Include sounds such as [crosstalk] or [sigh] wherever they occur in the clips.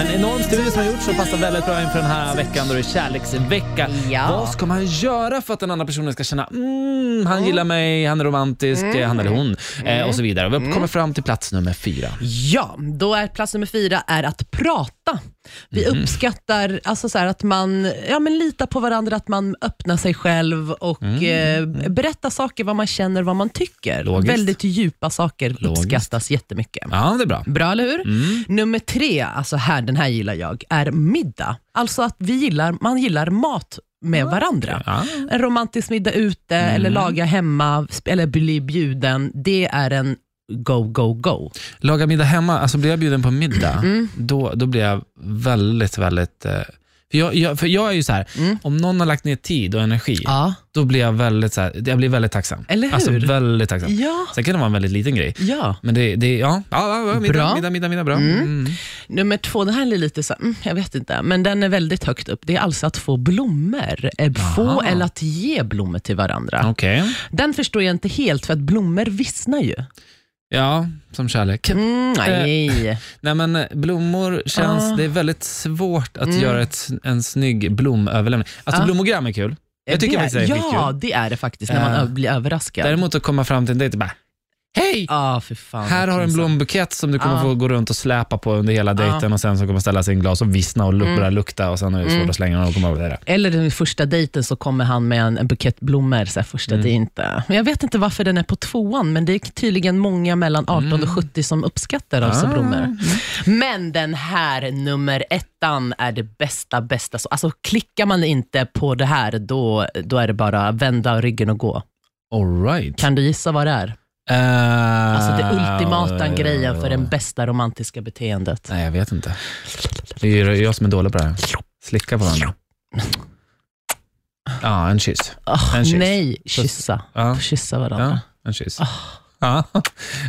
En enorm studie som har gjorts och passar väldigt bra inför den här veckan då det är kärleksvecka. Ja. Vad ska man göra för att den andra personen ska känna mm, han gillar mig, han är romantisk, Mm. eh, han eller hon eh, och så vidare. Och vi kommer fram till plats nummer fyra. Ja, då är plats nummer fyra är att prata. Vi Mhm. uppskattar alltså så här, att man ja, men litar på varandra, att man öppnar sig själv och Mm. eh, berättar saker, vad man känner, vad man tycker. Logiskt. Väldigt djupa saker Logiskt. Mm. uppskattas jättemycket. Ja, det är bra. Bra, eller hur? Nummer tre, alltså här, den här gillar jag, är middag. Alltså att vi gillar, man gillar mat med varandra. Ja. Mm. En romantisk middag ute eller laga hemma sp- eller bli bjuden, det är en go, go, go. Laga middag hemma, alltså blir jag bjuden på middag, Mm. då, då blir jag väldigt, väldigt... eh, För jag, jag, för jag är ju så här, om någon har lagt ner tid och energi, Mm. Ja. då blir jag väldigt, så här, jag blir väldigt tacksam. Eller hur? Alltså väldigt tacksam. Ja. Sen kan det vara en väldigt liten grej. Ja. Men det, det ja, ja, ja middag, Bra. middag, middag, middag, bra. Mm. Nummer två, den här är lite så här, mm, jag vet inte, men den är väldigt högt upp. Det är alltså att få blommor. Eh, Få Aha. eller att ge blommor till varandra. Okej. Den förstår jag inte helt, för att blommor vissnar ju. Typ, Ja, som kärlek. Mm, nej. Nej men eh, blommor känns, Ah. Mm. det är väldigt svårt att göra ett, en snygg blomöverlämning. Alltså Ah. blommogram är kul. Jag tycker det, faktiskt det är Ja, skitkul. det är det faktiskt, när man Eh, ö- blir överraskad. Däremot att komma fram till en dejt och bara, hej! ah, för fan, Här har du en pinsamt. blombukett som du kommer Ah. få gå runt och släpa på under hela dejten och sen så kommer ställa sig i en glas och vissna och luk- Mm. börja lukta och sen är det svårt att slänga den och komma över det. Eller den första dejten så kommer han med en, en bukett blommor. Så här, första Mm. det är inte. Men jag vet inte varför den är på tvåan, men det är tydligen många mellan 18 och 70 som uppskattar alltså Mm. Ah. blommor. Men den här nummer ettan är det bästa, bästa. Så, alltså, klickar man inte på det här, då, då är det bara vända ryggen och gå. Alright. Kan du gissa vad det är? Alltså det Eh, Ah, ultimata grejen för det bästa romantiska beteendet. Nej, jag vet inte. Det är ju jag som är dålig på det här. Slicka på varandra. Ja, en kyss. Åh, en kyss. nej, kyssa. Ja. Kyssa varandra. Ja, en kyss. Ah. Ja.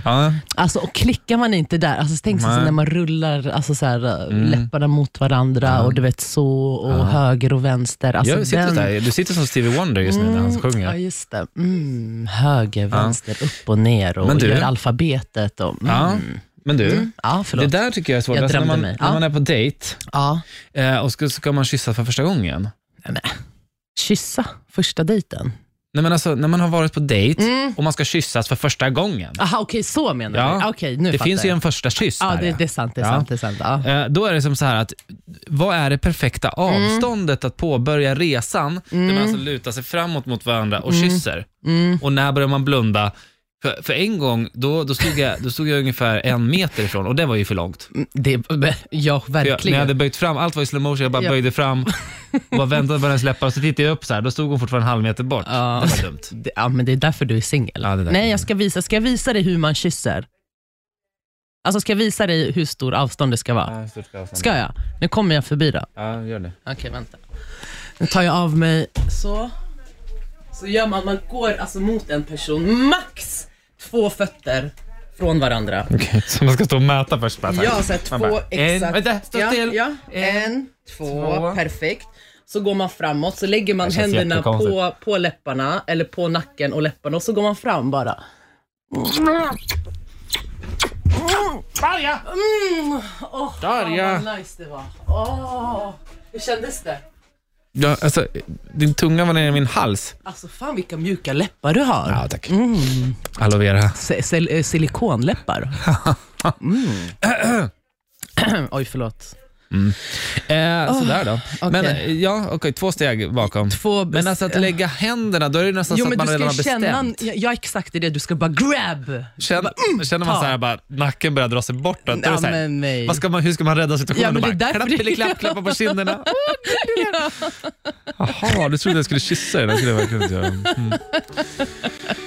Ja. Alltså, och klickar man inte där, alltså, tänk sig så Nej. Mm. när man rullar alltså, så här, läpparna mot varandra och du vet så, och höger och vänster. Alltså, jag sitter den- Mm, där. Du sitter som Stevie Wonder just nu när han Ja, sjunger. just det. Mm, höger, vänster, upp och ner och Men du- gör alfabetet. Och, mm. Ja. Men du, det Ja, Mm. förlåt. där tycker jag är svårt. Alltså, Jag när, drömde man, mig. när Ja. man är på dejt Ja. eh, och ska, ska man kyssa för första gången. Nej, men, kyssa första dejten. Nej, men alltså, när man har varit på dejt Mm. och man ska kyssas för första gången. Aha, okej, så menar Ja. du? Ah, Okej, nu det fattar finns ju jag. en första kyss Ja, där, det, ja. det är sant. Det är Ja. sant, det är sant. Ja. Eh, Då är det som så här att, vad är det perfekta Mm. avståndet att påbörja resan, där man alltså lutar sig framåt mot varandra och Mm. kysser? Och när börjar man blunda? För, för en gång, då, då, stod jag, då stod jag ungefär en meter ifrån och det var ju för långt. För Mm, Det, [laughs] ja, Jag, när jag verkligen. hade böjt fram, allt var i slow motion, jag bara Ja. böjde [laughs] fram och bara väntade på hennes läppar och så tittade jag upp så här, då stod hon fortfarande en halv meter bort. Ja. Det var dumt. Det- Ja, men det är därför du är singel. Ja, det är därför. Nej, jag ska visa, ska jag visa dig hur man kysser? Alltså, ska jag visa dig hur stor avstånd det ska vara? Ska jag? Nu kommer jag förbi då. Ja, gör det. Okej, vänta. Nu tar jag av mig så. Så gör man, man går alltså mot en person, max två fötter från varandra. Så man ska stå och mäta först? Bara, så här. Ja, så här, två Man bara, En, exakt. vänta, stå ja, still! Ja, en, två, två. perfekt. Så går man framåt, så lägger man Det känns händerna jättekonstigt. på, på läpparna, eller på nacken och läpparna, och så går man fram bara. Darja! Mm. Oh, Darja! Fan vad nice det var. Åh, hur kändes det? Ja, alltså, din tunga var nere i min hals. Alltså fan vilka mjuka läppar du har. Ja, tack. Mm. Aloe vera. Se- sel- [laughs] eh, silikonläppar. Mm. [clears throat] Oj, förlåt. Eh, Sådär då. Men okej. eh, ja, okej, två steg bakom. Två Men alltså att lägga händerna, då är det nästan Jo så att men du man ska redan ju har känna, bestämt. ja, ja exakt det är det, du ska bara grab. Känner, känner man Mm, ta. så här, bara, nacken börjar dra sig bortåt. då är Ja, det så här, men nej. vad ska man, hur ska man rädda Ja, situationen? men Ja, det är bara, därför- klapp, klapp, klapp, klappa på [laughs] kinderna. Åh, du, du, du. Jaha, du trodde jag skulle kyssa dig. Det skulle jag verkligen inte göra. Mm.